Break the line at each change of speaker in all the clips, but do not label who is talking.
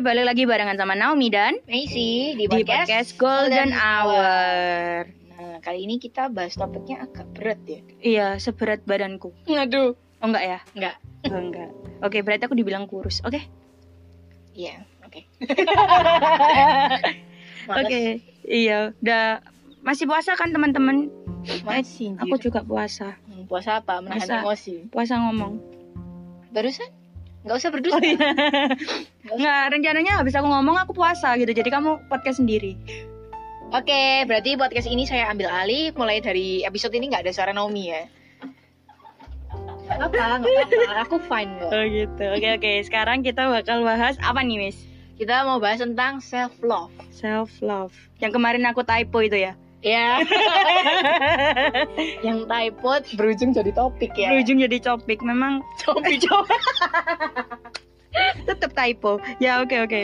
balik lagi barengan sama Naomi dan
Macy
di
di podcast.
podcast Golden
Golden
Hour.
Nah, kali ini kita bahas topiknya agak berat ya.
Iya, seberat badanku.
Aduh.
Oh enggak ya?
Enggak.
Oh, enggak. Oke, berarti aku dibilang kurus. Oke.
Iya, oke.
Oke. Iya, udah masih puasa kan teman-teman?
Masih.
Aku juga puasa.
Hmm, puasa apa? Menahan
Puasa.
emosi.
Puasa ngomong.
Barusan? Enggak usah berdusta.
Oh, iya. Enggak, rencananya habis aku ngomong aku puasa gitu. Jadi kamu podcast sendiri.
Oke, berarti podcast ini saya ambil alih mulai dari episode ini nggak ada suara Naomi ya. Nggak apa, nggak apa, aku fine kok.
Oh gitu. Oke, oke. Sekarang kita bakal bahas apa nih, Miss?
Kita mau bahas tentang self love.
Self love. Yang kemarin aku typo itu ya.
Ya. Yang typo berujung jadi topik ya.
Berujung jadi topik. Memang
topik coba.
tetap typo. Ya, oke, oke.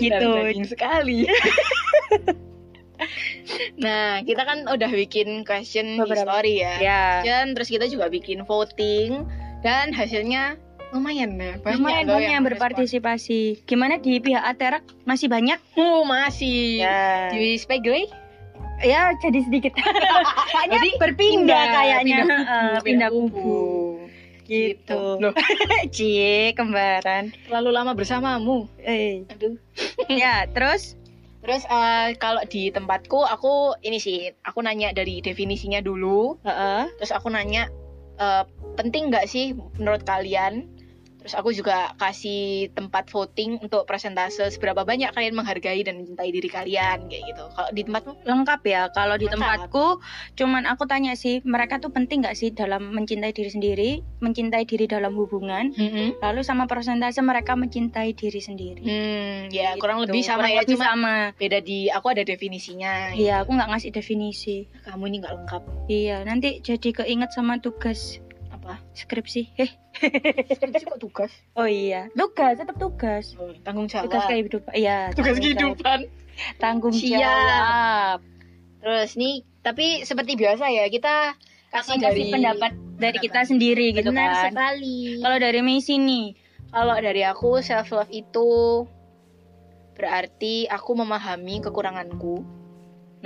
Gitu.
sekali. nah, kita kan udah bikin question
Beberapa.
history ya.
Ya.
Dan terus kita juga bikin voting dan hasilnya lumayan ya. Banyak
Lumayan
loh
banyak yang berpartisipasi. Gimana di pihak Aterak masih banyak?
respon. Oh, masih.
Ya.
Di Speedway?
Ya jadi sedikit. Kayaknya
Berarti
berpindah
pindah,
kayaknya.
pindah
Heeh, Pindah,
kubu, pindah
kubu.
Uh,
Gitu.
Loh,
Cie kembaran.
terlalu lama bersamamu.
Eh.
Aduh.
Ya terus.
Terus eh, kalau di tempatku aku ini sih, aku nanya dari definisinya dulu.
Heeh.
terus aku nanya eh, penting nggak sih menurut kalian terus aku juga kasih tempat voting untuk presentase seberapa banyak kalian menghargai dan mencintai diri kalian kayak gitu kalau di tempatmu
Lengkap ya. Kalau di
Lengkap.
tempatku, cuman aku tanya sih, mereka tuh penting nggak sih dalam mencintai diri sendiri, mencintai diri dalam hubungan, lalu sama persentase mereka mencintai diri sendiri.
hmm ya
Gitu.
kurang lebih sama
Kurang
ya
lebih
cuma
sama.
beda di aku ada definisinya
Iya, aku nggak ngasih definisi.
kamu ini nggak lengkap
Iya, nanti jadi keinget sama tugas
apa
skripsi. Eh,
skripsi kok tugas
oh iya, tugas tetap tugas.
Oh, tanggung jawab
Tugas kehidupan. Iya, tanggung jawab. Tanggung
Siap.
jawab.
terus nih tapi seperti biasa ya kita
Kasih
kasih dari
pendapat dari kita sendiri gitu
benar
kan.
sekali
Kalau dari Messi nih,
Kalau dari aku self love itu berarti aku memahami kekuranganku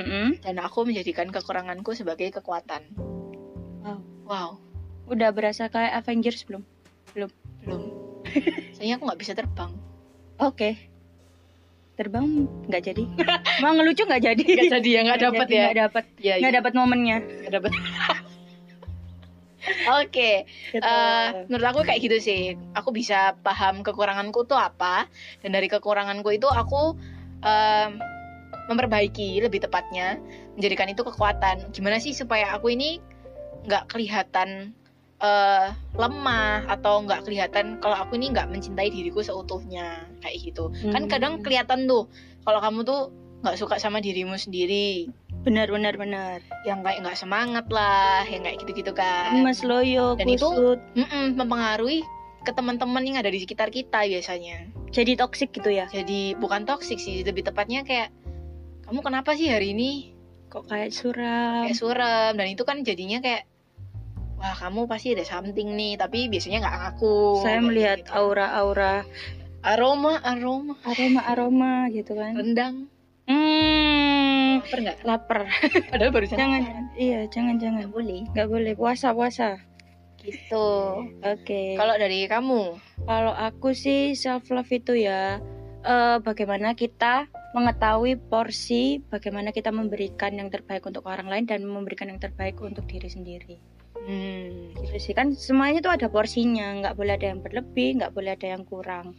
mm-mm,
dan aku menjadikan kekuranganku sebagai kekuatan.
Wow.
Wow,
udah berasa kayak Avengers belum?
belum. Sayangnya aku nggak bisa terbang.
Oke. Terbang nggak jadi. Mau ngelucu nggak jadi.
jadi ya, nggak dapat
jadi, Nggak dapat.
Iya,
Nggak dapat momennya.
nggak dapat. Oke,
Gitu.
eh, menurut aku kayak gitu sih. Aku bisa paham kekuranganku tuh apa dan dari kekuranganku itu aku em, memperbaiki lebih tepatnya menjadikan itu kekuatan. Gimana sih supaya aku ini nggak kelihatan eh, lemah atau nggak kelihatan kalau aku ini nggak mencintai diriku seutuhnya kayak gitu. Kan
Hmm.
kadang kelihatan tuh kalau kamu tuh nggak suka sama dirimu sendiri,
benar benar benar.
yang kayak nggak semangat lah, yang kayak gitu-gitu kan.
Mas Loyo,
Dan itu-
kusut,
Mm-mm, mempengaruhi ke teman-teman yang ada di sekitar kita biasanya.
jadi toksik gitu ya.
Jadi bukan toksik sih, lebih tepatnya kayak kamu kenapa sih hari ini
Kok kayak suram.
kayak suram dan itu kan jadinya kayak wah kamu pasti ada something nih tapi biasanya nggak ngaku.
saya
Kayak
melihat
gitu.
aura-aura
aroma aroma
aroma-aroma gitu kan.
rendang.
Hmm,
Laper nggak?
lapar.
Padahal barusan
Jangan, jangan. Iya, jangan, jangan.
Nggak boleh.
Nggak boleh puasa, puasa.
Gitu.
Oke.
Kalau dari kamu,
Kalau aku sih self love itu ya eh, bagaimana kita mengetahui porsi bagaimana kita memberikan yang terbaik untuk orang lain dan memberikan yang terbaik untuk diri sendiri.
hmm,
Gitu sih kan semuanya tuh ada porsinya, nggak boleh ada yang berlebih, nggak boleh ada yang kurang.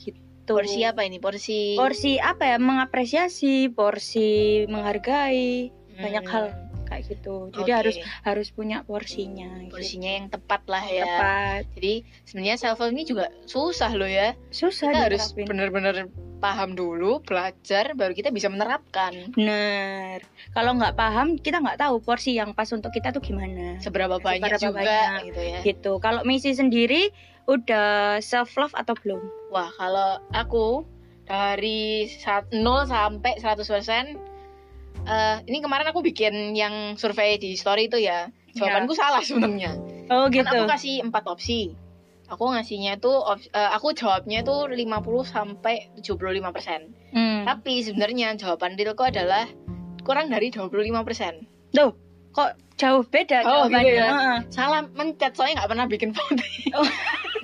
Gitu.
porsi apa ini? Porsi
Porsi apa ya? Mengapresiasi, porsi menghargai,
Hmm,
banyak hal kayak gitu. Jadi
oke.
harus harus punya porsinya. gitu.
porsinya yang tepat lah ya.
Tepat.
Jadi sebenarnya self love ini juga susah loh ya.
Susah
Kita harus
diterapin.
benar-benar paham dulu, belajar, baru kita bisa menerapkan
Bener. Kalau nggak paham, kita nggak tahu porsi yang pas untuk kita tuh gimana.
seberapa
Seberapa
banyak juga
banyak.
gitu ya.
Gitu. Kalau misi sendiri udah self love atau belum?
Wah kalau aku dari sa- 0 sampai 100 persen, eh, ini kemarin aku bikin yang survei di story itu ya. Jawabanku salah sebenarnya.
Oh
Kan aku
gitu.
kasih empat opsi. aku ngasihnya tuh op- eh, aku jawabnya tuh 50 sampai 75 persen
Hmm.
tapi sebenarnya jawaban realku adalah kurang dari 25 persen
Jauh beda
Oh,
jawabannya.
gitu ya.
Heeh.
salah mencet soalnya nggak pernah bikin voting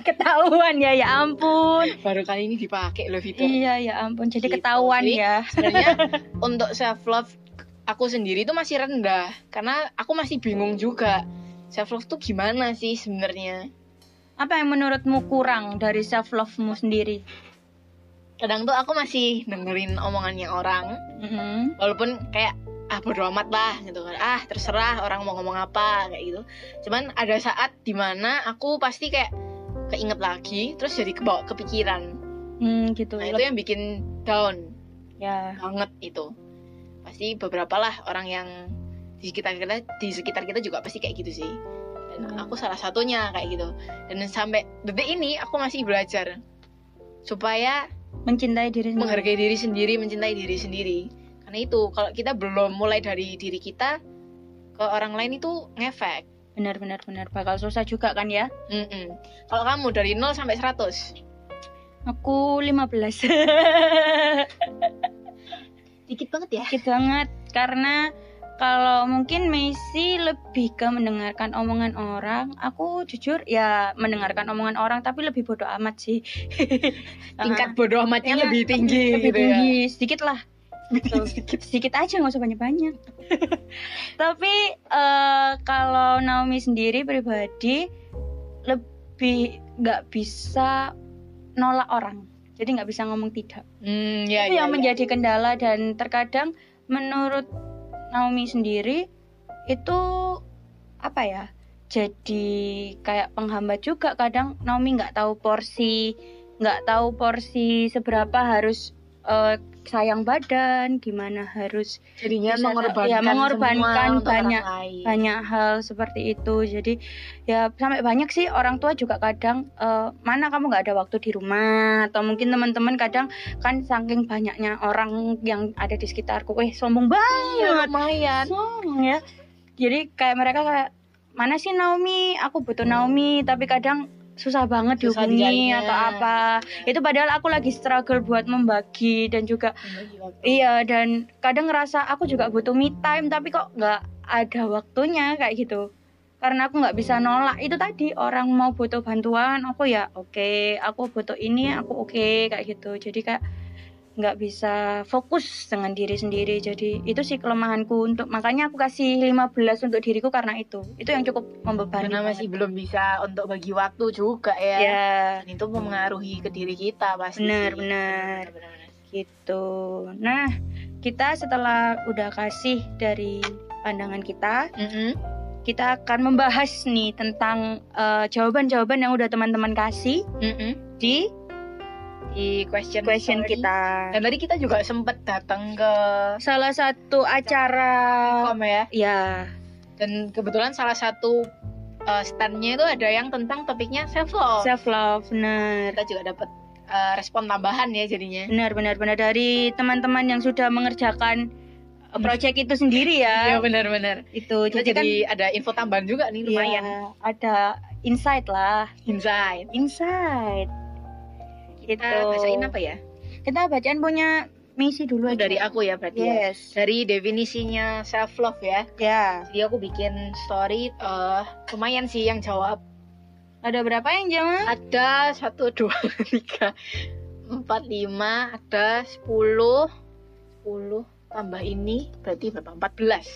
Ketahuan ya, ya ampun.
baru kali ini dipakai loh fitur
Iya, ya ampun. Jadi
Gitu.
ketahuan
Jadi,
ya.
sebenarnya untuk self love aku sendiri tuh masih rendah karena aku masih bingung juga self love tuh gimana sih sebenarnya
Apa yang menurutmu kurang dari self love-mu sendiri?
kadang tuh aku masih dengerin omongannya orang
Mm-mm.
walaupun kayak ah bodo amat lah gitu kan ah terserah orang mau ngomong apa kayak gitu cuman ada saat dimana aku pasti kayak keinget lagi terus jadi kebawa kepikiran
Hmm, gitu.
nah itu yang bikin down
Ya.
banget itu pasti beberapa lah orang yang di sekitar kita di sekitar kita juga pasti kayak gitu sih dan
Hmm.
aku salah satunya kayak gitu dan sampai detik ini aku masih belajar supaya
Hmm. Mencintai diri sendiri.
menghargai diri sendiri, mencintai diri sendiri. Karena itu, kalau kita belum mulai dari diri kita ke orang lain itu ngefek.
Benar, benar, benar. Bakal susah juga kan ya?
Mm-mm. Kalau kamu dari 0 sampai 100,
Aku 15.
dikit banget ya.
Dikit banget karena kalau mungkin Messi lebih ke mendengarkan omongan orang, aku jujur ya mendengarkan omongan orang tapi lebih bodoh amat sih.
Tingkat bodoh amatnya
Iya,
lebih tinggi
lebih
gitu
tinggi sedikit lah.
ya. Sedikit.
sedikit aja nggak usah banyak-banyak. Tapi eh, kalau Naomi sendiri pribadi lebih nggak bisa nolak orang. Jadi nggak bisa ngomong tidak.
Hmm, ya,
Itu
ya,
yang
ya.
menjadi kendala dan terkadang menurut Naomi sendiri itu apa ya? Jadi kayak penghambat juga kadang Naomi nggak tahu porsi, nggak tahu porsi seberapa harus eh, sayang badan, gimana harus
jadinya
bisa-
mengorbankan,
ya, mengorbankan
semua untuk orang
banyak-
lain.
banyak hal seperti itu jadi ya sampai banyak sih orang tua juga kadang eh, mana kamu nggak ada waktu di rumah atau mungkin teman-teman kadang kan saking banyaknya orang yang ada di sekitarku eh sombong
Ya,
banget
lumayan.
sombong ya jadi kayak mereka kayak mana sih Naomi aku butuh Naomi tapi kadang susah banget
Susah
dihubungi
dijalinnya.
atau apa itu padahal aku lagi struggle buat membagi dan juga
Bagi waktu.
Iya dan kadang ngerasa aku juga butuh me time tapi kok nggak ada waktunya kayak gitu karena aku nggak bisa nolak itu tadi orang mau butuh bantuan aku ya oke aku butuh ini aku oke kayak gitu jadi kayak nggak bisa fokus dengan diri sendiri jadi itu sih kelemahanku untuk makanya aku kasih 15 untuk diriku karena itu itu yang cukup membebani
Karena masih belum bisa untuk bagi waktu juga
banget.
ya.
ya
Dan itu mempengaruhi ke diri kita pasti.
Benar,
sih.
benar.
benar.
gitu nah kita setelah udah kasih dari pandangan kita
Mm-mm.
kita akan membahas nih tentang eh, jawaban-jawaban yang udah teman-teman kasih
Mm-mm.
di
di question
question
story.
kita.
Dan tadi kita juga sempet datang ke
Salah satu acara
Kom ya.
ya,
Dan kebetulan salah satu uh, standnya itu ada yang tentang topiknya self love.
self love benar.
Kita juga dapat uh, respon tambahan ya jadinya.
Benar benar benar dari teman-teman yang sudah mengerjakan eh, project itu sendiri ya.
Iya, benar-benar.
Itu
Kita
jadi, kan
jadi ada info tambahan juga nih lumayan.
ya, ada insight lah,
Insight.
insight.
Kita
Gitu.
bacain apa ya?
Kita bacaan punya misi dulu
Oh,
aja.
dari aku ya berarti. ya.
Yes.
Dari definisinya self love ya.
Ya.
Jadi aku bikin story uh, lumayan sih yang jawab
Ada berapa yang jawab?
ada satu dua tiga empat lima ada sepuluh sepuluh tambah ini berarti berapa empat belas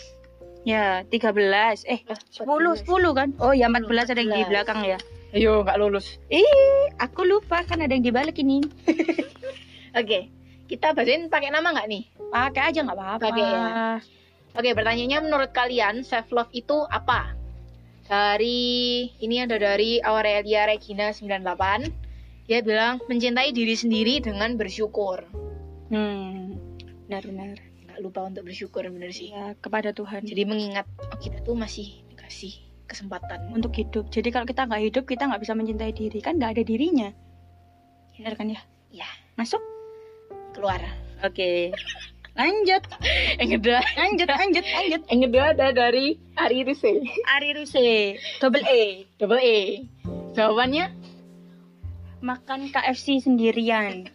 Ya, 13. Eh, 10, 10 kan? Oh ya 14 ada yang di
14.
belakang ya.
ayo nggak lulus
Ih, aku lupa kan ada yang di balik ini.
oke kita bahasin pakai nama nggak nih
Pakai aja nggak apa-apa.
Pakai ya. oke pertanyaannya menurut kalian self love itu apa dari ini ada dari Aurelia Regina 98 dia bilang mencintai diri sendiri dengan bersyukur
Hmm. Benar-benar.
nggak lupa untuk bersyukur bener sih
Ya, kepada Tuhan.
jadi mengingat oh, kita tuh masih dikasih kesempatan
untuk hidup. Jadi kalau kita nggak hidup, kita nggak bisa mencintai diri. Kan nggak ada dirinya. Benar kan ya?
Iya.
Masuk?
keluar.
Oke. Lanjut,
Yang kedua,
lanjut, lanjut, lanjut.
yang kedua ada dari Ari Ruse.
Ari Ruse, double E.
Double E. Jawabannya
makan KFC sendirian.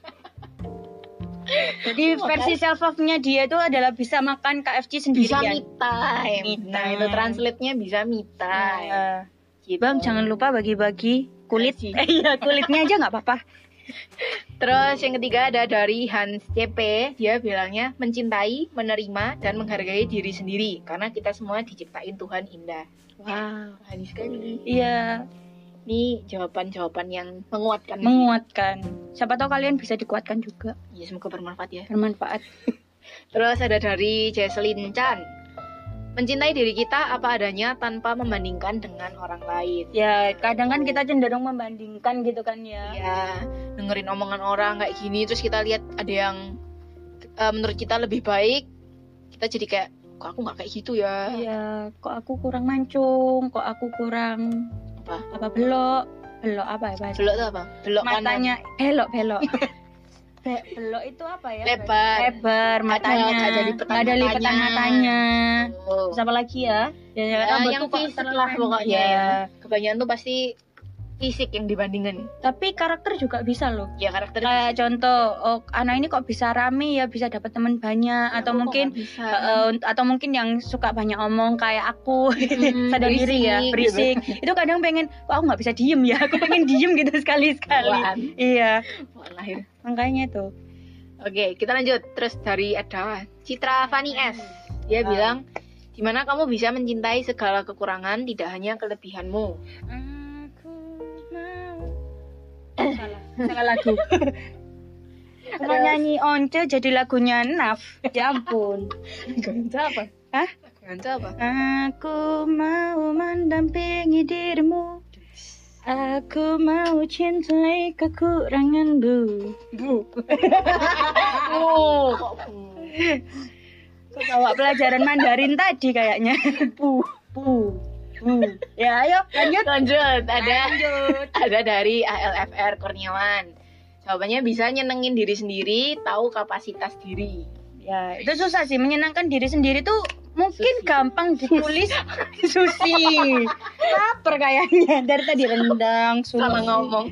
Jadi
Makan.
versi self love nya dia itu adalah bisa makan KFC
bisa
sendirian.
me time.
Me
Nah,
time.
itu translate-nya bisa me time.
Nah, Oh.
Gitu.
Bang jangan lupa bagi-bagi kulit.
Gaji.
Eh, Iya kulitnya aja nggak apa-apa.
Terus yang ketiga ada dari Hans CP, dia bilangnya mencintai, menerima dan menghargai diri sendiri karena kita semua diciptain Tuhan indah.
Wow.
Bagus sekali.
Iya
Ini jawaban-jawaban yang menguatkan.
menguatkan. Siapa tahu kalian bisa dikuatkan juga
ya semoga bermanfaat ya.
bermanfaat.
Terus ada dari Jesslyn Chan. Mencintai diri kita apa adanya tanpa membandingkan dengan orang lain.
Ya kadang kan kita cenderung membandingkan gitu kan ya.
ya dengerin omongan orang kayak gini terus kita lihat ada yang eh, menurut kita lebih baik kita jadi kayak kok aku nggak kayak gitu ya
Iya kok aku kurang mancung, kok aku kurang
Apa?
apa belok belok apa ya bahasa?
belok tuh apa belok kanan
matanya belok belok Be- belok itu apa ya
Lebar.
lebar matanya
Ada- ada lipetan
Ada lipetan
matanya.
matanya
Oh.
Terus apa lagi ya ya, ya,
Ya,
rambut
yang
tuh kok
fisik
terlalu
lah
pendek
pokoknya
ya.
ya. kebanyakan tuh pasti fisik yang dibandingin
tapi karakter juga bisa loh
ya karakter
kayak contoh oh, anak ini kok bisa rame ya bisa dapat teman banyak
Ya,
atau
aku kok
mungkin
nggak bisa.
eh, eh, atau mungkin yang suka banyak omong kayak aku
Hmm,
sadar diri ya berisik
berisik, Iya,
itu kadang pengen kok aku nggak bisa diem ya aku pengen diem gitu sekali sekali
Bawaan,
iya
bawaan lahir
makanya tuh
Oke, kita lanjut. Terus dari ada Citra Fani S.
Ah.
Dia bilang, dimana kamu bisa mencintai segala kekurangan, tidak hanya kelebihanmu.
Aku mau Salah, salah lagu Mau nyanyi Once jadi lagunya Naf Ya ampun
Ganja apa?
Hah?
Ganja apa?
Aku mau mendampingi dirimu Aku mau cintai kekuranganmu
Bu. Kok bu?
Kok bawa pelajaran Mandarin tadi kayaknya
Bu.
Bu, bu. Ya ayo lanjut
Lanjut, ada
Lanjut
ada dari ALFR Kurniawan. Jawabannya bisa nyenengin diri sendiri, tahu kapasitas diri.
Ya, itu susah sih menyenangkan diri sendiri tuh mungkin
Susi.
gampang ditulis Susi. Laper kayaknya dari tadi rendang Susi.
Salah ngomong.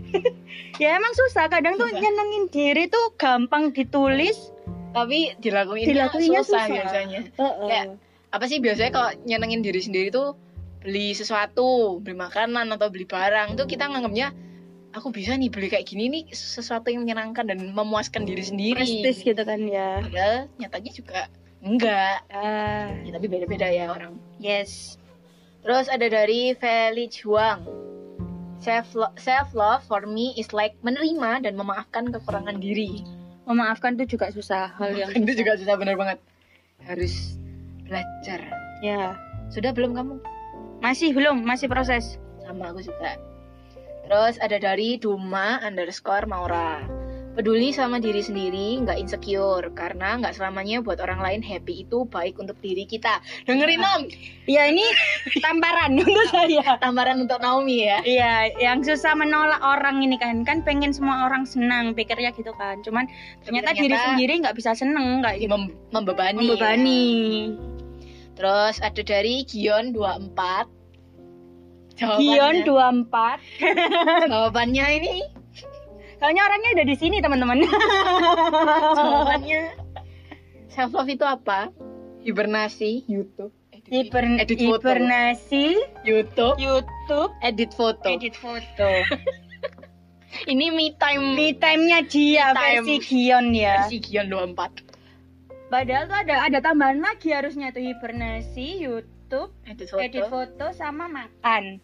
Ya emang susah kadang tuh
Susah.
nyenengin diri tuh gampang ditulis.
Tapi dilakuinnya,
Dilakuinnya
susah,
susah.
biasanya.
Heeh.
Kayak, apa sih biasanya kalau nyenengin diri sendiri tuh beli sesuatu, beli makanan atau beli barang tuh kita nganggapnya aku bisa nih beli kayak gini nih sesuatu yang menyenangkan dan memuaskan diri sendiri.
prestis gitu kan ya.
Padahal nyatanya juga enggak.
Ah,
Ya, tapi beda-beda ya orang.
yes.
Terus ada dari Felix Huang. Self love, self love for me is like menerima dan memaafkan kekurangan diri.
Memaafkan tuh juga susah hal yang
Itu juga susah bener banget. Harus belajar.
ya.
Sudah belum kamu?
Masih belum, masih proses.
sama aku juga terus ada dari Duma underscore Maura peduli sama diri sendiri nggak insecure karena nggak selamanya buat orang lain happy itu baik untuk diri kita dengerin om
Ya ini tamparan untuk saya.
tambaran untuk Naomi ya
Iya, yang susah menolak orang ini kan kan pengen semua orang senang pikirnya gitu kan. Cuman ternyata, diri
Ternyata
sendiri nggak bisa seneng kayak gitu.
mem- membebani
Membebani.
terus ada dari Gion 24
Gion
Iya. Jawabannya-
24.
jawabannya ini
Soalnya orangnya udah di sini teman-teman. Oh.
jawabannya self love itu apa hibernasi YouTube edit,
Hiber
edit foto.
hibernasi
YouTube
YouTube
edit foto
edit foto.
ini me time
Me time-nya dia
Me time.
versi Gion ya.
versi Gion 24
Padahal tuh ada ada tambahan lagi harusnya tuh hibernasi YouTube
edit foto.
edit foto sama makan.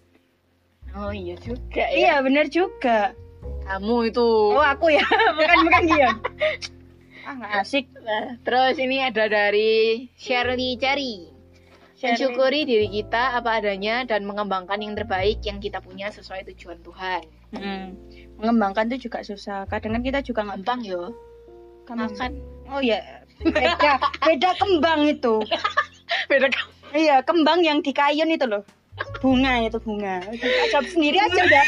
oh iya juga ya
Iya bener juga.
kamu itu
Oh aku ya, bukan bukan Gion. Ah nggak asik.
Nah, terus ini ada dari Shirley Cherry mensyukuri diri kita apa adanya dan mengembangkan yang terbaik yang kita punya sesuai tujuan Tuhan
Hmm. Mengembangkan tuh juga susah. Kadang kan kita juga nggak
gampang yo makan
Oh ya, beda beda kembang itu.
beda kamu
Iya, kembang yang di kayu itu loh. Bunga itu bunga. Jawab sendiri aja udah.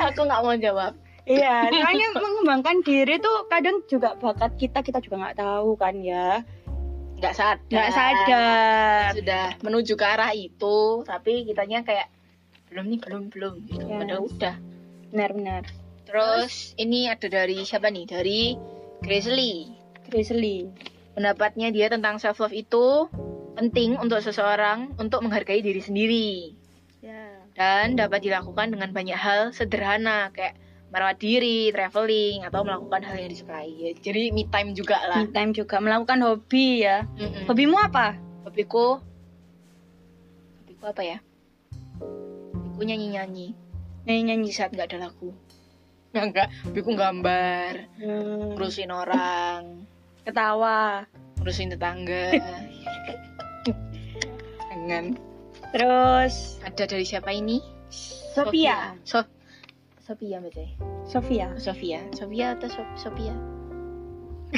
aku nggak mau jawab
Iya, soalnya mengembangkan diri tuh kadang juga bakat kita kita juga nggak tahu kan ya.
nggak sadar
Nah. Nggak sadar.
sudah menuju ke arah itu tapi kitanya kayak belum nih belum belum gitu
Yes.
udah udah
benar-benar
terus ini ada dari siapa nih dari Grace Lee
Grizzly
pendapatnya dia tentang self love itu penting untuk seseorang untuk menghargai diri sendiri
ya
dan dapat dilakukan dengan banyak hal sederhana kayak merawat diri, traveling atau melakukan hal yang disukai. Ya, Jadi me time juga lah.
me time juga melakukan hobi ya
Mm-mm.
hobimu apa
Hobiku Hobiku apa ya? Hobiku nyanyi-nyanyi
nyanyi nyanyi
Di saat nggak ada lagu Nah, enggak, hobiku gambar Ngurusin orang
ketawa
Ngurusin tetangga Jangan
terus
Ada dari siapa ini?
Sophia
So Sophia betul
Sophia
Sofia Sofia atau Sof Sofia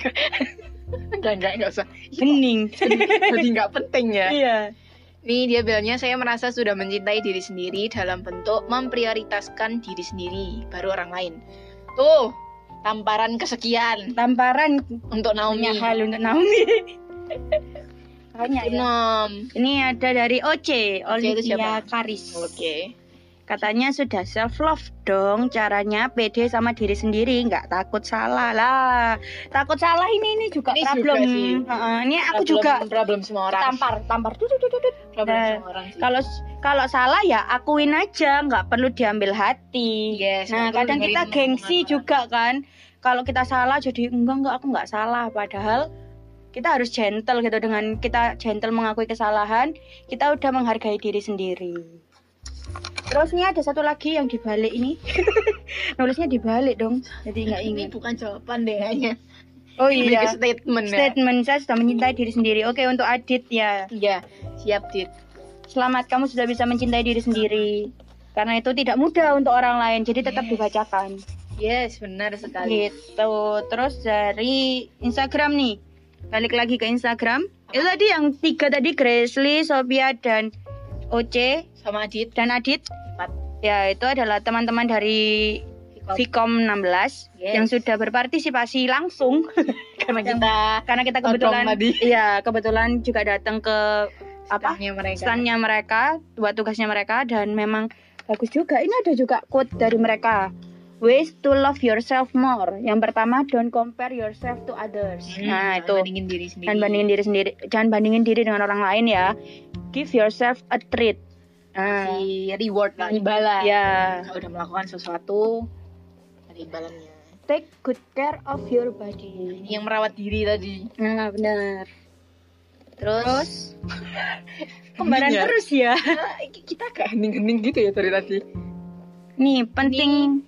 Enggak, enggak, enggak usah
bening
Jadi enggak penting ya
iya
Nih dia bilangnya saya merasa sudah mencintai diri sendiri dalam bentuk memprioritaskan diri sendiri baru orang lain. Tuh, tamparan kesekian
tamparan
untuk
punya
Naomi.
Iya, hal untuk Naomi Banyak ya.
Nom.
Ini ada dari OC,
itu siapa?
Olivia Karis.
Oke.
Katanya sudah self love dong, caranya pede sama diri sendiri, nggak takut salah lah. Takut salah ini ini juga
Ini juga
problem.
sih.
Heeh, ini aku
Problem-
juga
problem semua orang.
tampar, tampar. Dut, dut, dut, dut.
Problem
Nah,
semua orang. sih.
Kalau kalau salah ya akuin aja, nggak perlu diambil hati.
Yes,
nah,
nggak perlu
kadang kita
dengerin
gengsi
omongan
juga kan. Kalau kita salah jadi enggak enggak aku nggak salah padahal kita harus gentle gitu dengan kita gentle mengakui kesalahan, kita udah menghargai diri sendiri. Terus nih ada satu lagi yang dibalik ini. Nulisnya dibalik dong. Jadi nggak
ini
ingat.
bukan jawaban deh kayaknya.
Oh
Ini
iya.
statement ya.
Statement saya sudah mencintai diri sendiri. Oke, untuk Adit ya.
Iya, siap Dit.
Selamat kamu sudah bisa mencintai diri sendiri. Karena itu tidak mudah untuk orang lain, jadi tetap
Yes.
dibacakan.
Yes, benar sekali.
Gitu. Terus dari Instagram nih. Balik lagi ke Instagram. Itu tadi yang tiga tadi Graceley, Sophia dan OC
Sama Adit.
dan Adit.
Empat.
Ya, itu adalah teman-teman dari Vicom 16
Yes.
yang sudah berpartisipasi langsung
Karena kita
karena kita
Nodong
kebetulan
tadi.
iya, kebetulan juga datang ke apa?
standnya mereka.
standnya mereka, buat tugasnya mereka dan memang bagus juga. Ini ada juga quote dari mereka. Ways to love yourself more. Yang pertama, don't compare yourself to others.
Hmm,
nah,
jangan
itu.
bandingin diri sendiri.
Jangan bandingin diri sendiri, jangan bandingin diri dengan orang lain ya. Give yourself a treat. Nah,
si reward lah imbalan
ya.
Kalau udah melakukan sesuatu ada imbalannya
Take good care of your body.
yang merawat diri tadi
Nah, benar.
terus,
Kembaran
Iya.
terus ya.
Ah, kita agak hening-hening gitu ya dari tadi
Nih, penting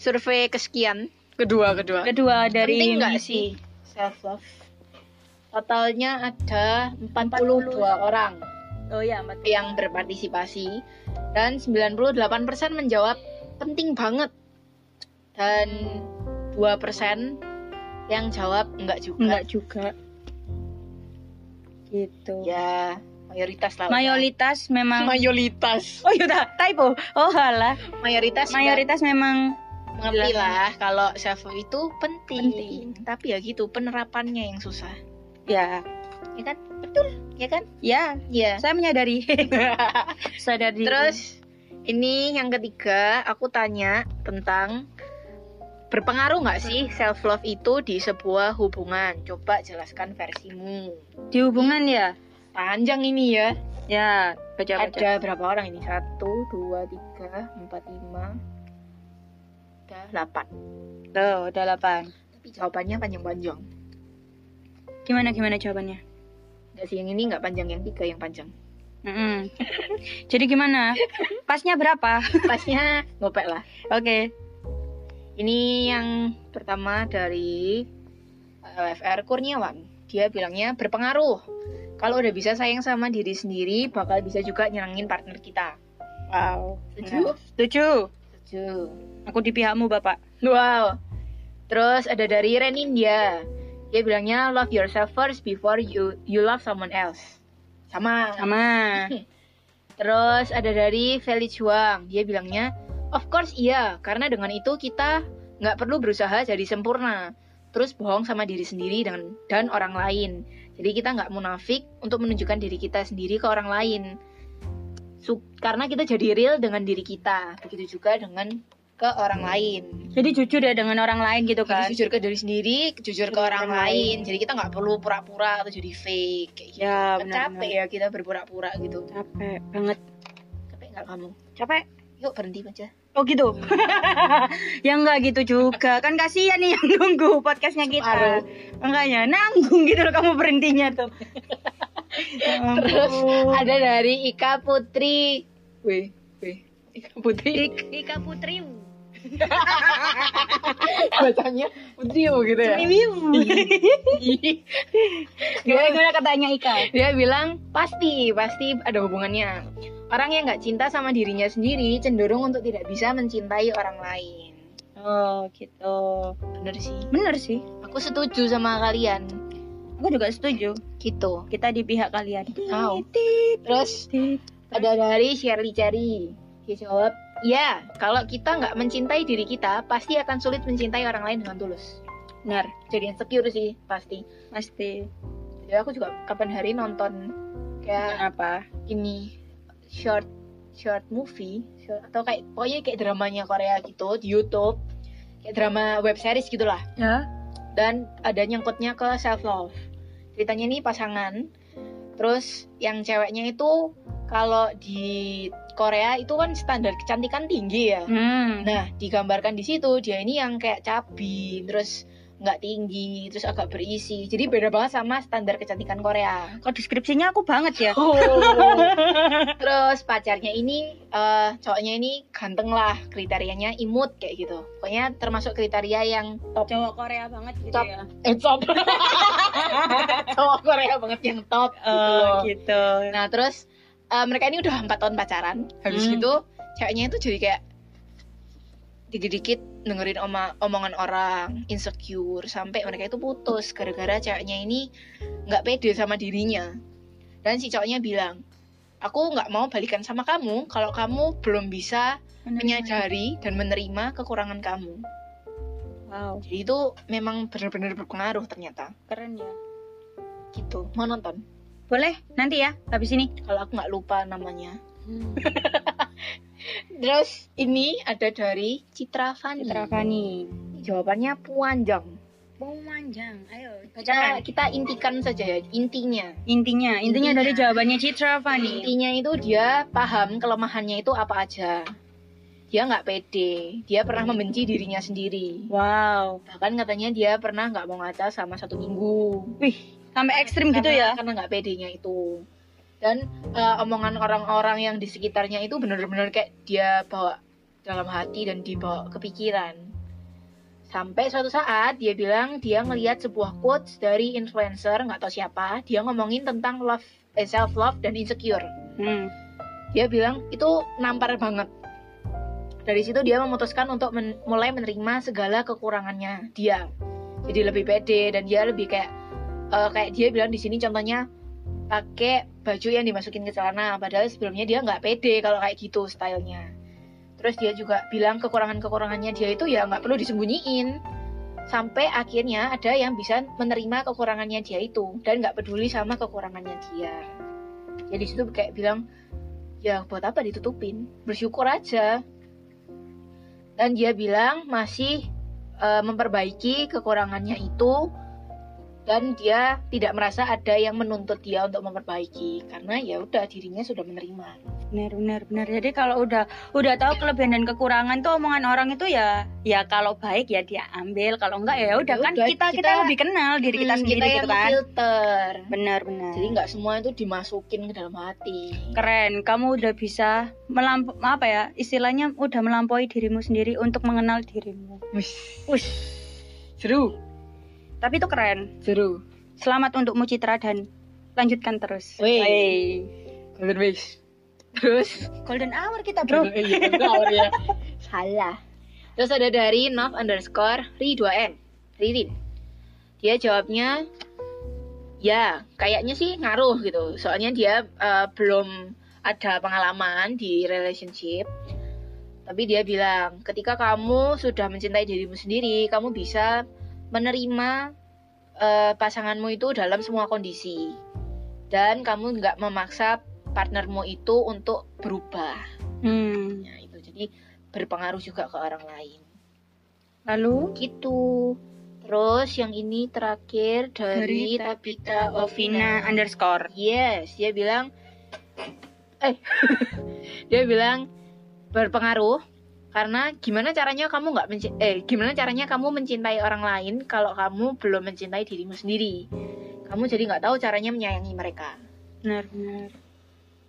survei kesekian kedua kedua
kedua dari
penting nggak
Misi.
sih self love totalnya ada 42 orang
Oh ya, Mbak.
yang berpartisipasi dan 98% menjawab penting banget dan 2% yang jawab enggak juga
Enggak juga. Gitu.
ya mayoritas lah
mayoritas memang
mayoritas
oh yaudah typo oh halah
mayoritas
mayoritas
mayoritas
memang
mengerti lah kalau self love itu penting.
Penting.
tapi ya gitu penerapannya yang susah
ya
ya kan betul ya kan
ya
ya
saya menyadari sadari
terus ini yang ketiga aku tanya tentang berpengaruh nggak sih self love itu di sebuah hubungan coba jelaskan versimu
di hubungan ya
panjang ini ya
ya baca baca
ada berapa orang ini satu dua tiga empat lima ada delapan
tuh udah delapan
tapi jawabannya panjang-panjang
gimana gimana jawabannya
Nggak sih yang ini nggak panjang yang tiga yang panjang
Mm-mm. jadi gimana pasnya berapa
pasnya ngopek lah
oke
ini yang pertama dari LFR Kurniawan dia bilangnya berpengaruh kalau udah bisa sayang sama diri sendiri bakal bisa juga nyerangin partner kita
wow
Setuju?
setuju
setuju
aku di pihakmu bapak
wow terus ada dari Renindia dia bilangnya love yourself first before you you love someone else sama
sama
Terus ada dari Feli Chuang, dia bilangnya, of course iya, karena dengan itu kita nggak perlu berusaha jadi sempurna. Terus bohong sama diri sendiri dengan dan orang lain. Jadi kita nggak munafik untuk menunjukkan diri kita sendiri ke orang lain. Su- karena kita jadi real dengan diri kita begitu juga dengan ke orang lain
Jadi jujur ya dengan orang lain gitu kan.
Jadi jujur ke diri sendiri jujur ke orang lain jadi kita nggak perlu pura-pura atau jadi fake kayak gitu.
Ya,
Kan capek ya kita berpura-pura gitu
Capek banget.
capek nggak kamu
Capek.
yuk berhenti aja
Oh gitu. ya enggak gitu juga. Kan kasihan nih yang nunggu podcastnya kita.
Aduh.
Makanya nanggung gitu loh kamu berhentinya tuh. Ya
Terus
Terus
ada dari Ika Putri. Wih, wih. Ika Putri.
Ika Putri.
Bacanya Putri gitu ya.
Gimana katanya Ika?
Dia bilang pasti, pasti ada hubungannya. Orang yang nggak cinta sama dirinya sendiri cenderung untuk tidak bisa mencintai orang lain.
Oh gitu.
Bener sih.
Bener sih.
Aku setuju sama kalian.
Aku juga setuju.
Gitu.
Kita di pihak kalian.
Wow. Terus ada dari Shirley Cherry. Dia jawab, Ya, kalau kita nggak mencintai diri kita, pasti akan sulit mencintai orang lain dengan tulus.
Benar,
Jadi insecure sih, pasti.
pasti.
ya aku juga kapan hari nonton kayak
Kenapa?
ini short short movie short- atau kayak pokoknya kayak dramanya Korea gitu di YouTube kayak drama web series gitulah
Ya.
dan ada nyangkutnya ke self love ceritanya ini pasangan terus yang ceweknya itu kalau di Korea itu kan standar kecantikan tinggi ya
Hmm.
Nah, digambarkan di situ dia ini yang kayak cabi, terus nggak tinggi, terus agak berisi. Jadi beda banget sama standar kecantikan Korea.
Kok deskripsinya aku banget ya?
terus pacarnya ini eh, cowoknya ini ganteng lah, kriterianya imut kayak gitu. Pokoknya termasuk kriteria yang top.
Cowok Korea banget gitu
Top.
ya.
Eh, top. Cowok Korea banget yang top. gitu loh.
Oh, gitu.
Nah, terus eh, mereka ini udah empat tahun pacaran. Habis
Hmm.
itu ceweknya itu jadi kayak dikit-dikit dengerin oma- omongan orang, insecure sampai mereka itu putus gara-gara ceweknya ini nggak pede sama dirinya. Dan si cowoknya bilang, "Aku nggak mau balikan sama kamu kalau kamu belum bisa
Hmm.
menyadari dan menerima kekurangan kamu."
Wow,
Jadi itu memang benar-benar berpengaruh ternyata.
keren ya.
Gitu. Mau nonton?
Boleh, nanti ya, habis ini.
Kalau aku nggak lupa namanya. Hmm. Terus ini ada dari Citra Fani.
Citra Fani.
Jawabannya panjang.
Pemanjang, ayo
Nah,
bacakan.
kita intikan saja ya intinya.
kan? Intinya, intinya
Intinya.
dari jawabannya Citra Fani.
Intinya itu dia paham kelemahannya itu apa aja. Dia nggak pede. Dia pernah membenci dirinya sendiri.
Wow,
Bahkan katanya dia pernah nggak mau ngaca sama satu minggu.
sampai ekstrim gitu ya?
Karena nggak pedenya itu. Dan eh, omongan orang-orang yang di sekitarnya itu benar-benar kayak dia bawa dalam hati dan dibawa ke pikiran. Sampai suatu saat dia bilang dia ngelihat sebuah quotes dari influencer nggak tahu siapa, dia ngomongin tentang love, self love dan insecure.
Hmm.
Dia bilang itu nampar banget. Dari situ dia memutuskan untuk men- mulai menerima segala kekurangannya dia. Jadi lebih pede dan dia lebih kayak eh, kayak dia bilang di sini contohnya pakai baju yang dimasukin ke celana padahal sebelumnya dia nggak pede kalau kayak gitu stylenya. Terus dia juga bilang kekurangan-kekurangannya dia itu ya nggak perlu disembunyiin. Sampai akhirnya ada yang bisa menerima kekurangannya dia itu dan nggak peduli sama kekurangannya dia. Jadi situ kayak bilang ya buat apa ditutupin bersyukur aja dan dia bilang masih eh, memperbaiki kekurangannya itu dan dia tidak merasa ada yang menuntut dia untuk memperbaiki karena ya udah dirinya sudah menerima
Benar, benar, benar. Jadi kalau udah udah tahu kelebihan dan kekurangan tuh omongan orang itu ya ya kalau baik ya dia ambil, kalau enggak ya udah
Ya
kan
udah,
kita, kita
kita-
lebih kenal diri kita
Hmm,
sendiri
yang
gitu kan.
filter
Benar, benar.
jadi nggak semua itu dimasukin ke dalam hati
Keren, kamu udah bisa melamp apa ya? Istilahnya udah melampaui dirimu sendiri untuk mengenal dirimu. Wih,
seru
tapi itu keren.
seru
Selamat untukmu Citra dan lanjutkan terus.
Wih.
Wey.
golden wish terus
Golden hour kita, Bro.
Salah. Terus ada dari Nov underscore Ri2N. Ririn. Dia jawabnya, ya kayaknya sih ngaruh gitu. Soalnya dia eh, belum ada pengalaman di relationship. Tapi dia bilang, ketika kamu sudah mencintai dirimu sendiri, kamu bisa menerima eh, pasanganmu itu dalam semua kondisi. Dan kamu nggak memaksa partnermu itu untuk berubah
Hmm.
ya itu jadi berpengaruh juga ke orang lain
Lalu
gitu terus yang ini terakhir dari,
Dari
Tabita
Ovina
Ovina
underscore.
yes dia bilang eh dia bilang berpengaruh karena gimana caranya kamu nggak menci- eh gimana caranya kamu mencintai orang lain kalau kamu belum mencintai dirimu sendiri kamu jadi nggak tahu caranya menyayangi mereka
Benar, benar.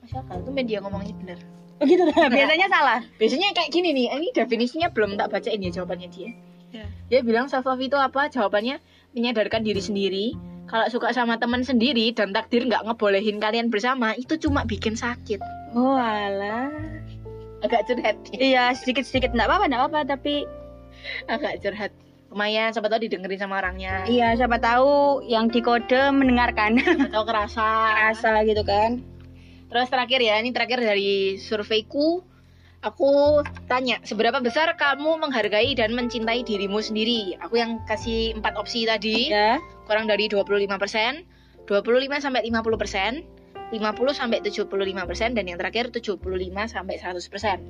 Masya Allah, itu media ngomongnya bener
Oh gitu lah, biasanya salah.
Biasanya kayak gini nih, ini definisinya belum tak bacain ya jawabannya dia.
Ya.
Dia bilang self love itu apa? Jawabannya menyadarkan diri sendiri. Kalau suka sama teman sendiri dan takdir nggak ngebolehin kalian bersama, itu cuma bikin sakit.
Oh alah.
Agak curhat, ya. nih,
Iya, sedikit-sedikit enggak apa-apa, enggak apa-apa, tapi
agak curhat. Lumayan, siapa tahu didengerin sama orangnya
iya siapa tahu yang di kode mendengarkan
atau kerasa.
rasa gitu kan.
Terus terakhir ya, ini terakhir dari surveiku. Aku tanya, seberapa besar kamu menghargai dan mencintai dirimu sendiri? Aku yang kasih empat opsi tadi.
Ya.
kurang dari 25%, 25 sampai 50%, 50 sampai 75% dan yang terakhir 75 sampai 100%.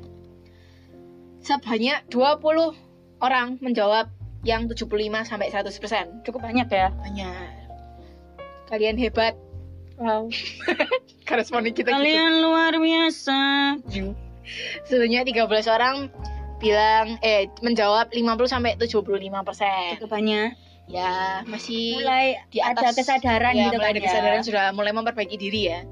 Sebanyak 20 orang menjawab yang 75 sampai 100%.
Cukup banyak ya.
Banyak. Kalian hebat.
Wow.
Koresponden kita gitu.
Kalian luar biasa.
Sebanyak 13 orang bilang eh menjawab 50 sampai 75%.
Cukup banyak.
Ya, masih
Mulai
di
ada
atas
kesadaran
ya,
gitu kan.
mulai ada
ya.
kesadaran sudah mulai memperbaiki diri ya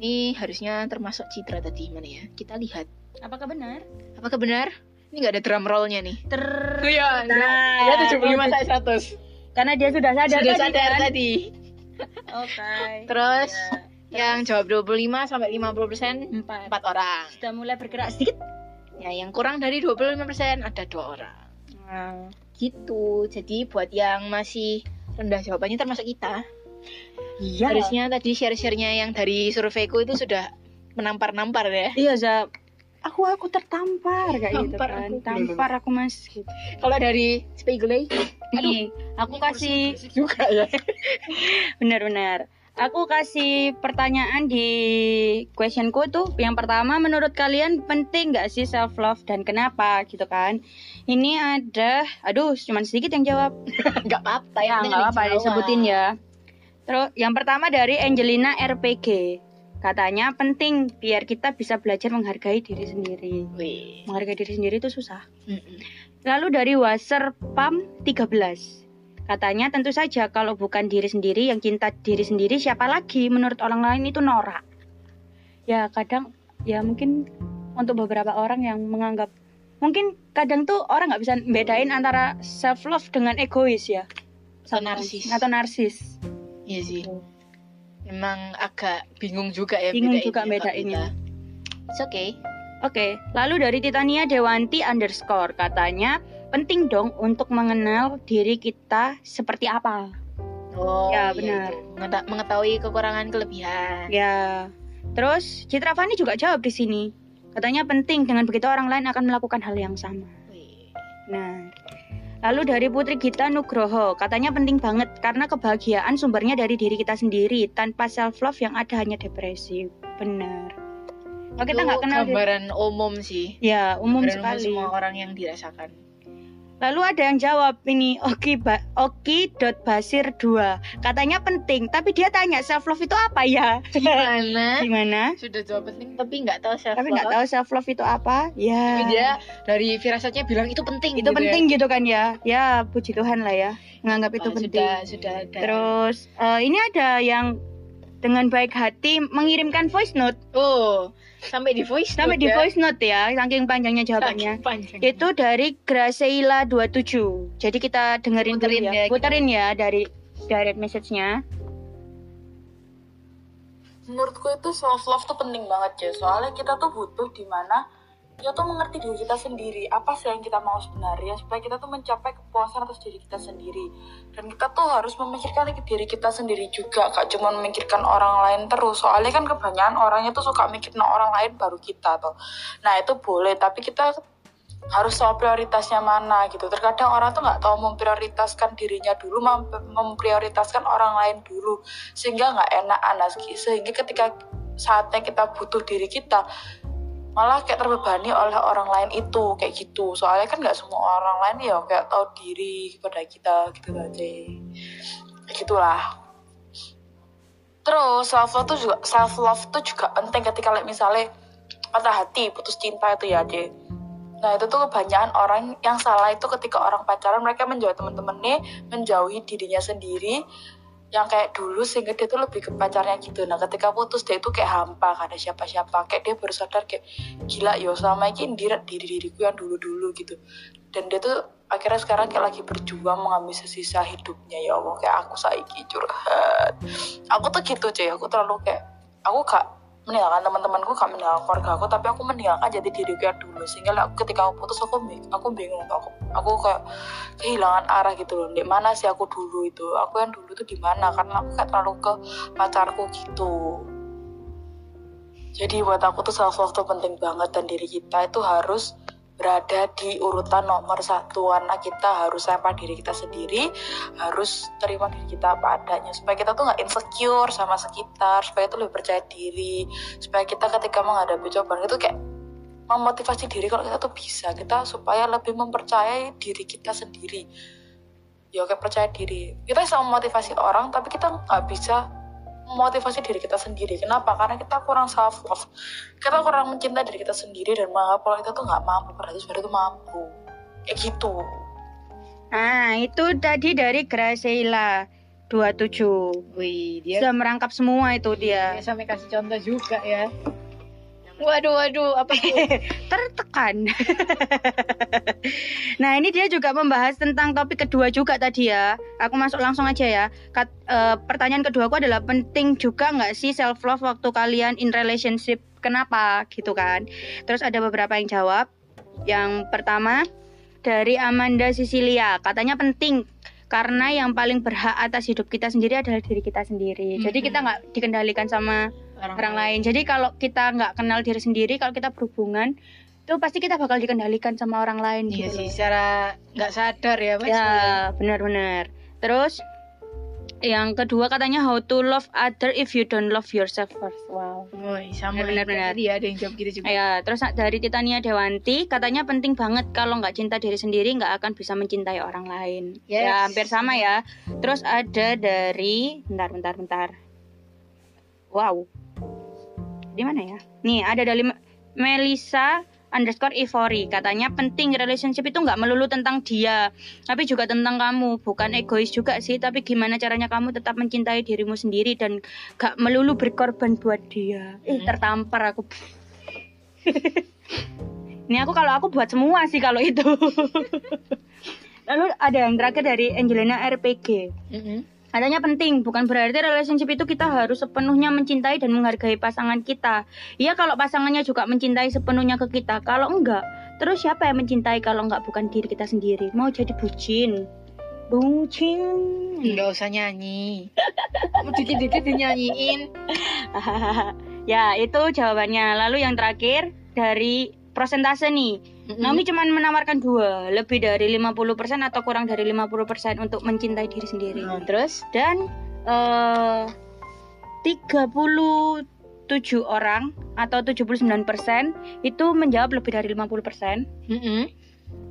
ini harusnya termasuk citra tadi mana ya kita lihat
Apakah benar?
apakah benar ini nggak ada drum rollnya nih
Ter
iya
Nah.
ya tujuh puluh lima seratus
karena dia sudah sadar
sudah
tadi
sadar
kan?
tadi Iya.
Oke.
terus
Ya.
yang jawab 25 sampai 50 persen
Empat.
empat orang
Sudah mulai bergerak sedikit.
ya yang kurang dari 25 persen ada dua orang Nah, gitu jadi buat yang masih rendah jawabannya termasuk kita
Iya.
harusnya tadi share-sharenya yang dari surveiku itu sudah menampar-nampar ya
Iya, Zab. Aku aku tertampar kayak gitu
Tampar
kan.
aku.
Tampar aku Mas gitu.
kalau dari Spiegel Aduh.
Nih, aku kasih
juga ya
benar-benar. Aku kasih pertanyaan di questionku tuh yang pertama menurut kalian penting nggak sih self love dan kenapa gitu kan? Ini ada, aduh cuman sedikit yang jawab.
nggak apa-apa
Ya nggak apa-apa disebutin ya. Terus yang pertama dari Angelina RPG. Katanya penting biar kita bisa belajar menghargai diri sendiri.
Wih.
Menghargai diri sendiri itu susah. Lalu dari Waser Pam 13. Katanya tentu saja kalau bukan diri sendiri yang cinta diri sendiri siapa lagi menurut orang lain itu norak. Ya kadang ya mungkin untuk beberapa orang yang menganggap mungkin kadang tuh orang nggak bisa bedain antara self love dengan egois ya
Atau narsis.
atau narsis
Iya sih. Memang agak bingung juga ya
Bingung
bedain
juga
ya,
bedainnya.
Kak Vita. It's okay.
Oke, lalu dari Titania Dewanti underscore katanya penting dong untuk mengenal diri kita seperti apa.
Oh,
Ya,
iya,
benar.
iya. Mengeta- mengetahui kekurangan kelebihan.
Ya. Terus Citra Fani juga jawab di sini. Katanya penting dengan begitu orang lain akan melakukan hal yang sama.
Wih.
Nah. Lalu dari Putri Gita Nugroho, katanya penting banget karena kebahagiaan sumbernya dari diri kita sendiri. Tanpa self love yang ada hanya depresi. Benar. Oh, kita
Itu
nggak kenal diri-
gambaran umum sih.
Ya, umum
Gambaran
sekali.
semua orang yang dirasakan.
Lalu ada yang jawab ini Oki ba Oki dot Basir 2 katanya penting tapi dia tanya self love itu apa ya
Gimana?
gimana
Sudah jawab penting tapi nggak tahu self
tapi nggak tahu self love itu apa
Tapi
ya
dia dari firasatnya bilang itu penting.
itu
gitu ya.
penting gitu kan ya ya puji Tuhan lah ya menganggap itu
Wah,
penting
Oh, Sudah sudah ada.
terus eh, ini ada yang dengan baik hati mengirimkan voice note
Oh, sampai di voice
sampai
note
di
ya.
voice note ya saking panjangnya jawabannya
Saking panjang.
itu dari Graceila 27 jadi kita dengerin dulu
Puterin ya.
ya puterin ya dari direct message-nya
menurutku itu self love tuh penting banget ya soalnya kita tuh butuh di mana kita tuh mengerti diri kita sendiri apa sih yang kita mau sebenarnya supaya kita tuh mencapai kepuasan atas diri kita sendiri dan kita tuh harus memikirkan ke diri kita sendiri juga gak cuma memikirkan orang lain terus soalnya kan kebanyakan orangnya tuh suka mikirin orang lain baru kita tuh nah itu boleh tapi kita harus tahu prioritasnya mana gitu terkadang orang tuh nggak tahu memprioritaskan dirinya dulu mem- memprioritaskan orang lain dulu Nah, sehingga nggak enak anas sehingga ketika saatnya kita butuh diri kita malah kayak terbebani oleh orang lain itu kayak gitu soalnya kan nggak semua orang lain ya kayak tahu diri kepada kita gitu aja Kayak gitulah terus self love tuh juga self love tuh juga penting ketika like, misalnya patah hati putus cinta itu ya deh Nah itu tuh kebanyakan orang yang salah itu ketika orang pacaran mereka menjauhi temen-temennya, menjauhi dirinya sendiri. Yang kayak dulu sehingga dia tuh lebih ke pacarnya gitu. Nah ketika putus dia itu kayak hampa, gak ada siapa-siapa. Kayak dia baru sadar kayak gila yo selama ini diri diriku yang dulu-dulu gitu. Dan dia tuh akhirnya sekarang kayak lagi berjuang mengambil sisa hidupnya ya Allah kayak aku saiki curhat. Aku tuh gitu cuy, aku terlalu kayak aku gak meninggalkan teman-temanku gak meninggalkan keluarga aku tapi aku meninggalkan jati diriku yang dulu sehingga lah, ketika aku putus aku bing- aku bingung aku aku kayak kehilangan arah gitu loh di mana sih aku dulu itu aku yang dulu tuh di mana karena aku kayak terlalu ke pacarku gitu jadi buat aku tuh self love tuh penting banget dan diri kita itu harus berada di urutan nomor satu karena kita harus sayang pada diri kita sendiri harus terima diri kita apa adanya supaya kita tuh nggak insecure sama sekitar supaya itu lebih percaya diri supaya kita ketika menghadapi cobaan itu kayak memotivasi diri kalau kita tuh bisa kita supaya lebih mempercayai diri kita sendiri ya kayak percaya diri kita bisa memotivasi orang tapi kita nggak bisa memotivasi diri kita sendiri. Kenapa? Karena kita kurang self love. Kita kurang mencintai diri kita sendiri dan menganggap kalau kita tuh nggak mampu, berarti sebenarnya tuh mampu. Kayak gitu.
Nah, itu tadi dari Graceila 27.
Wih, dia
Sudah merangkap semua itu
dia
dia.
sampai kasih contoh juga ya. Waduh, waduh, apa tuh?
Tertekan. nah, ini dia juga membahas tentang topik kedua juga tadi ya. Aku masuk langsung aja ya. Kat- eh, pertanyaan kedua aku adalah penting juga nggak sih self love waktu kalian in relationship? Kenapa gitu kan? Terus ada beberapa yang jawab. Yang pertama dari Amanda Sicilia, katanya penting karena yang paling berhak atas hidup kita sendiri adalah diri kita sendiri. Jadi kita nggak dikendalikan sama orang lain. Jadi kalau kita nggak kenal diri sendiri, kalau kita berhubungan, itu pasti kita bakal dikendalikan sama orang lain
Iya
gitu.
sih,
loh.
secara nggak sadar ya, Mas.
Ya, benar-benar. Terus yang kedua katanya how to love other if you don't love yourself first. Wow.
Woi, sama
Benar, benar.
Iya, ada yang jawab gitu juga.
Ya, terus dari Titania Dewanti katanya penting banget kalau nggak cinta diri sendiri nggak akan bisa mencintai orang lain.
Yes.
Ya, hampir sama ya. Terus ada dari bentar bentar bentar. Wow. Di mana ya? Nih, ada dari Me- Melisa underscore Ivory katanya penting relationship itu nggak melulu tentang dia tapi juga tentang kamu bukan egois juga sih tapi gimana caranya kamu tetap mencintai dirimu sendiri dan gak melulu berkorban buat dia Ih,
Hmm.
tertampar aku ini aku kalau aku buat semua sih kalau itu lalu ada yang terakhir dari Angelina RPG
Mm-mm.
Hmm. Adanya penting, bukan berarti relationship itu kita harus sepenuhnya mencintai dan menghargai pasangan kita. Iya kalau pasangannya juga mencintai sepenuhnya ke kita, kalau enggak, terus siapa yang mencintai kalau enggak bukan diri kita sendiri? Mau jadi bucin, bucin.
nggak usah nyanyi. Kamu dikit-dikit dinyanyiin.
ya itu jawabannya. Lalu yang terakhir dari prosentase nih.
Mm-mm.
Naomi cuma menawarkan dua, lebih dari 50% atau kurang dari 50% untuk mencintai diri sendiri.
Nah, terus
dan eh 37 orang atau 79% itu menjawab lebih dari 50%.
Mm-mm.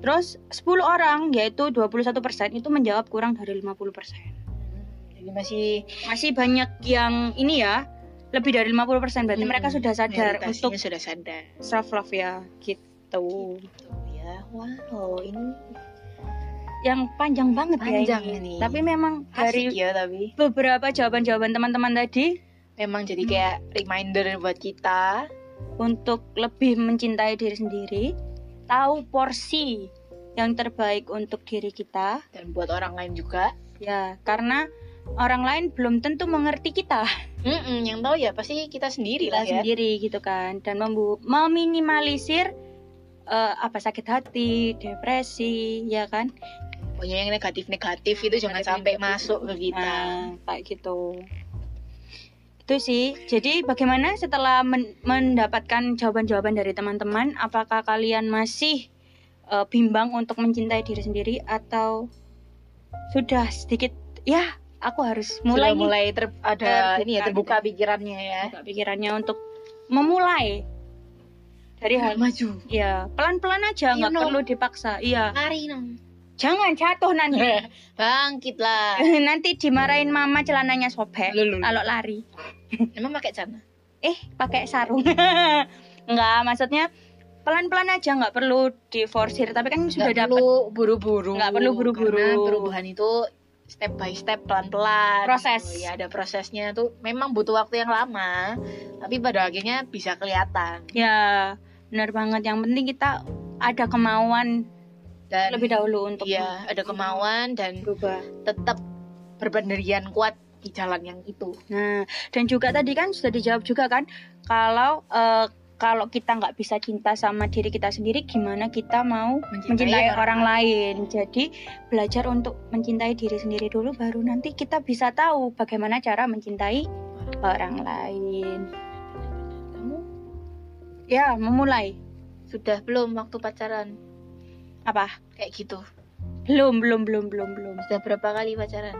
Terus 10 orang yaitu 21% itu menjawab kurang dari 50%.
jadi masih
Masih banyak yang ini ya, lebih dari 50% berarti
Mm-mm.
mereka sudah sadar
mayoritasnya
untuk
sudah sadar.
self love ya gitu.
Gitu ya. Wow, ini
Yang panjang banget
Panjang
ya ini.
ini.
Tapi memang dari
asik ya tapi
beberapa jawaban-jawaban teman-teman tadi
memang jadi
Hmm.
kayak reminder buat kita.
untuk lebih mencintai diri sendiri, tahu porsi yang terbaik untuk diri kita,
dan buat orang lain juga.
ya, karena orang lain belum tentu mengerti kita,
Mm-mm, yang tahu ya pasti kita sendiri
kita
lah ya.
sendiri gitu kan, dan membu- meminimalisir eh, apa sakit hati, depresi, ya kan,
Pokoknya yang negatif-negatif itu jangan sampai masuk ke kita.
nah, kayak gitu. Itu sih. Jadi bagaimana setelah men- mendapatkan jawaban-jawaban dari teman-teman, apakah kalian masih eh, bimbang untuk mencintai diri sendiri atau sudah sedikit ya aku harus mulai
mulai
nih
mulai ter- ada
Terbuka gitu.
ini ya terbuka pikirannya ya
buka pikirannya untuk memulai dari hal
maju
ya pelan-pelan aja
You
nggak
know.
perlu dipaksa iya
lari nong
jangan jatuh nanti
bangkitlah
nanti dimarahin mama celananya sobek
Lulu.
kalau lari
emang pakai celana
eh pakai sarung nggak maksudnya pelan-pelan aja nggak perlu diforsir tapi kan sudah
Nggak
dapat
perlu buru-buru
Nggak perlu buru-buru.
karena perubahan itu step by step pelan-pelan
Proses.
Gitu ya ada prosesnya tuh memang butuh waktu yang lama tapi pada akhirnya bisa kelihatan
ya benar banget yang penting kita ada kemauan
dan
lebih dahulu untuk
iya ada kemauan dan
berubah
tetap berbenderian kuat di jalan yang itu
Nah, dan juga tadi kan sudah dijawab juga kan kalau eh, kalau kita nggak bisa cinta sama diri kita sendiri, gimana kita mau
Mencintai
mencintai, orang, lain? Jadi belajar untuk mencintai diri sendiri dulu, baru nanti kita bisa tahu bagaimana cara mencintai orang lain.
kamu
Ya, memulai
sudah belum waktu pacaran
apa?
kayak gitu
Belum, belum, belum, belum, belum.
sudah berapa kali pacaran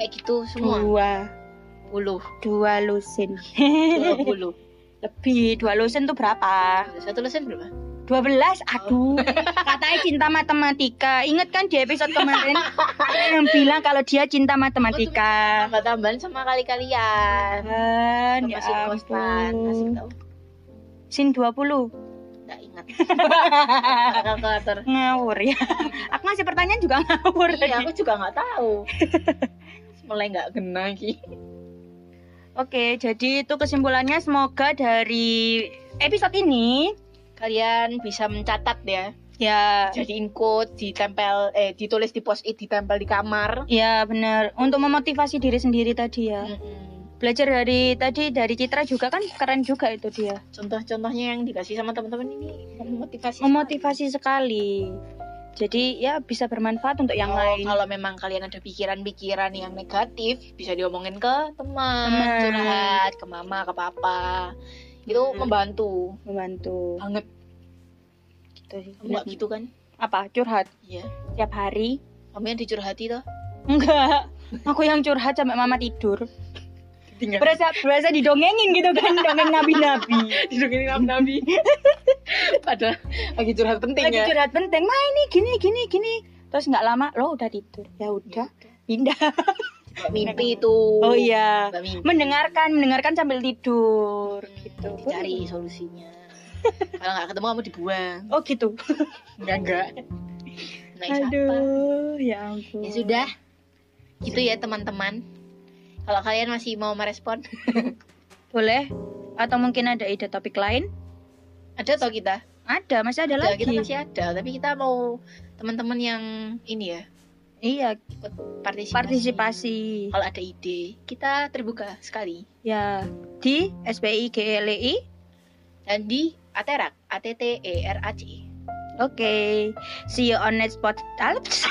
kayak gitu semua
Dua,
puluh
dua lusin.
dua puluh
Lebih dua lusin tuh berapa?
satu lesen berapa
12 aduh katanya cinta matematika ingat kan di episode kemarin ada yang bilang kalau dia cinta matematika
tambah tambahan sama kali kalian
kan ya
masih kostan masih
ampun
tahu
sin 20
nggak ingat kalkulator
ngawur ya aku masih pertanyaan juga ngawur
iya
tadi.
aku juga nggak tahu mulai nggak kena lagi
oke jadi itu kesimpulannya semoga dari episode ini
kalian bisa mencatat ya
ya
jadiin quote ditempel eh ditulis di post it ditempel di kamar
ya benar untuk memotivasi diri sendiri tadi ya
Mm-mm.
belajar dari tadi dari Citra juga kan keren juga itu dia
contoh-contohnya yang dikasih sama teman-teman ini memotivasi
memotivasi sekali. Jadi ya bisa bermanfaat untuk yang
Kalau-
lain.
Oh, kalau memang kalian ada pikiran-pikiran yang negatif bisa diomongin ke teman
Teman.
curhat ke mama ke papa itu
Hmm.
membantu
Membantu.
banget
Gitu sih.
kamu nggak gitu kan
Apa curhat
iya
tiap hari?
kamu yang dicurhati toh
Enggak. Aku yang curhat sampai mama tidur.
tinggal
Berasa berasa didongengin gitu kan, dongeng nabi-nabi.
didongengin sama nabi padahal lagi curhat penting
Lagi
ya
curhat penting. Ma ini gini gini gini. Terus nggak lama lo udah tidur. Ya udah, pindah.
Mbak mimpi tuh
Oh iya.
Mbak mimpi.
Mendengarkan, mendengarkan sambil tidur
Hmm,
gitu.
dicari solusinya kalau nggak ketemu kamu dibuang
Oh gitu.
enggak enggak naik apa
Aduh, ya ampun.
ya sudah gitu ya teman-teman kalau kalian masih mau merespon
Boleh atau mungkin ada ide topik lain?
ada toh kita
Ada, masih ada
Ada,
lagi.
kita masih ada tapi kita mau teman-teman yang ini ya
Iya,
partisipasi
partisipasi.
kalau ada ide kita terbuka sekali
Ya, di SPI GLI.
dan di Aterak A T T E R A C E
Oke. See you on next pod. Ah, Alps.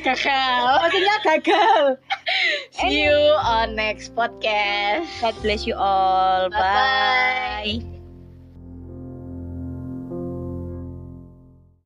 gagal
Maksudnya gagal.
see you on next podcast
God bless you all.
Bye-bye.
Bye.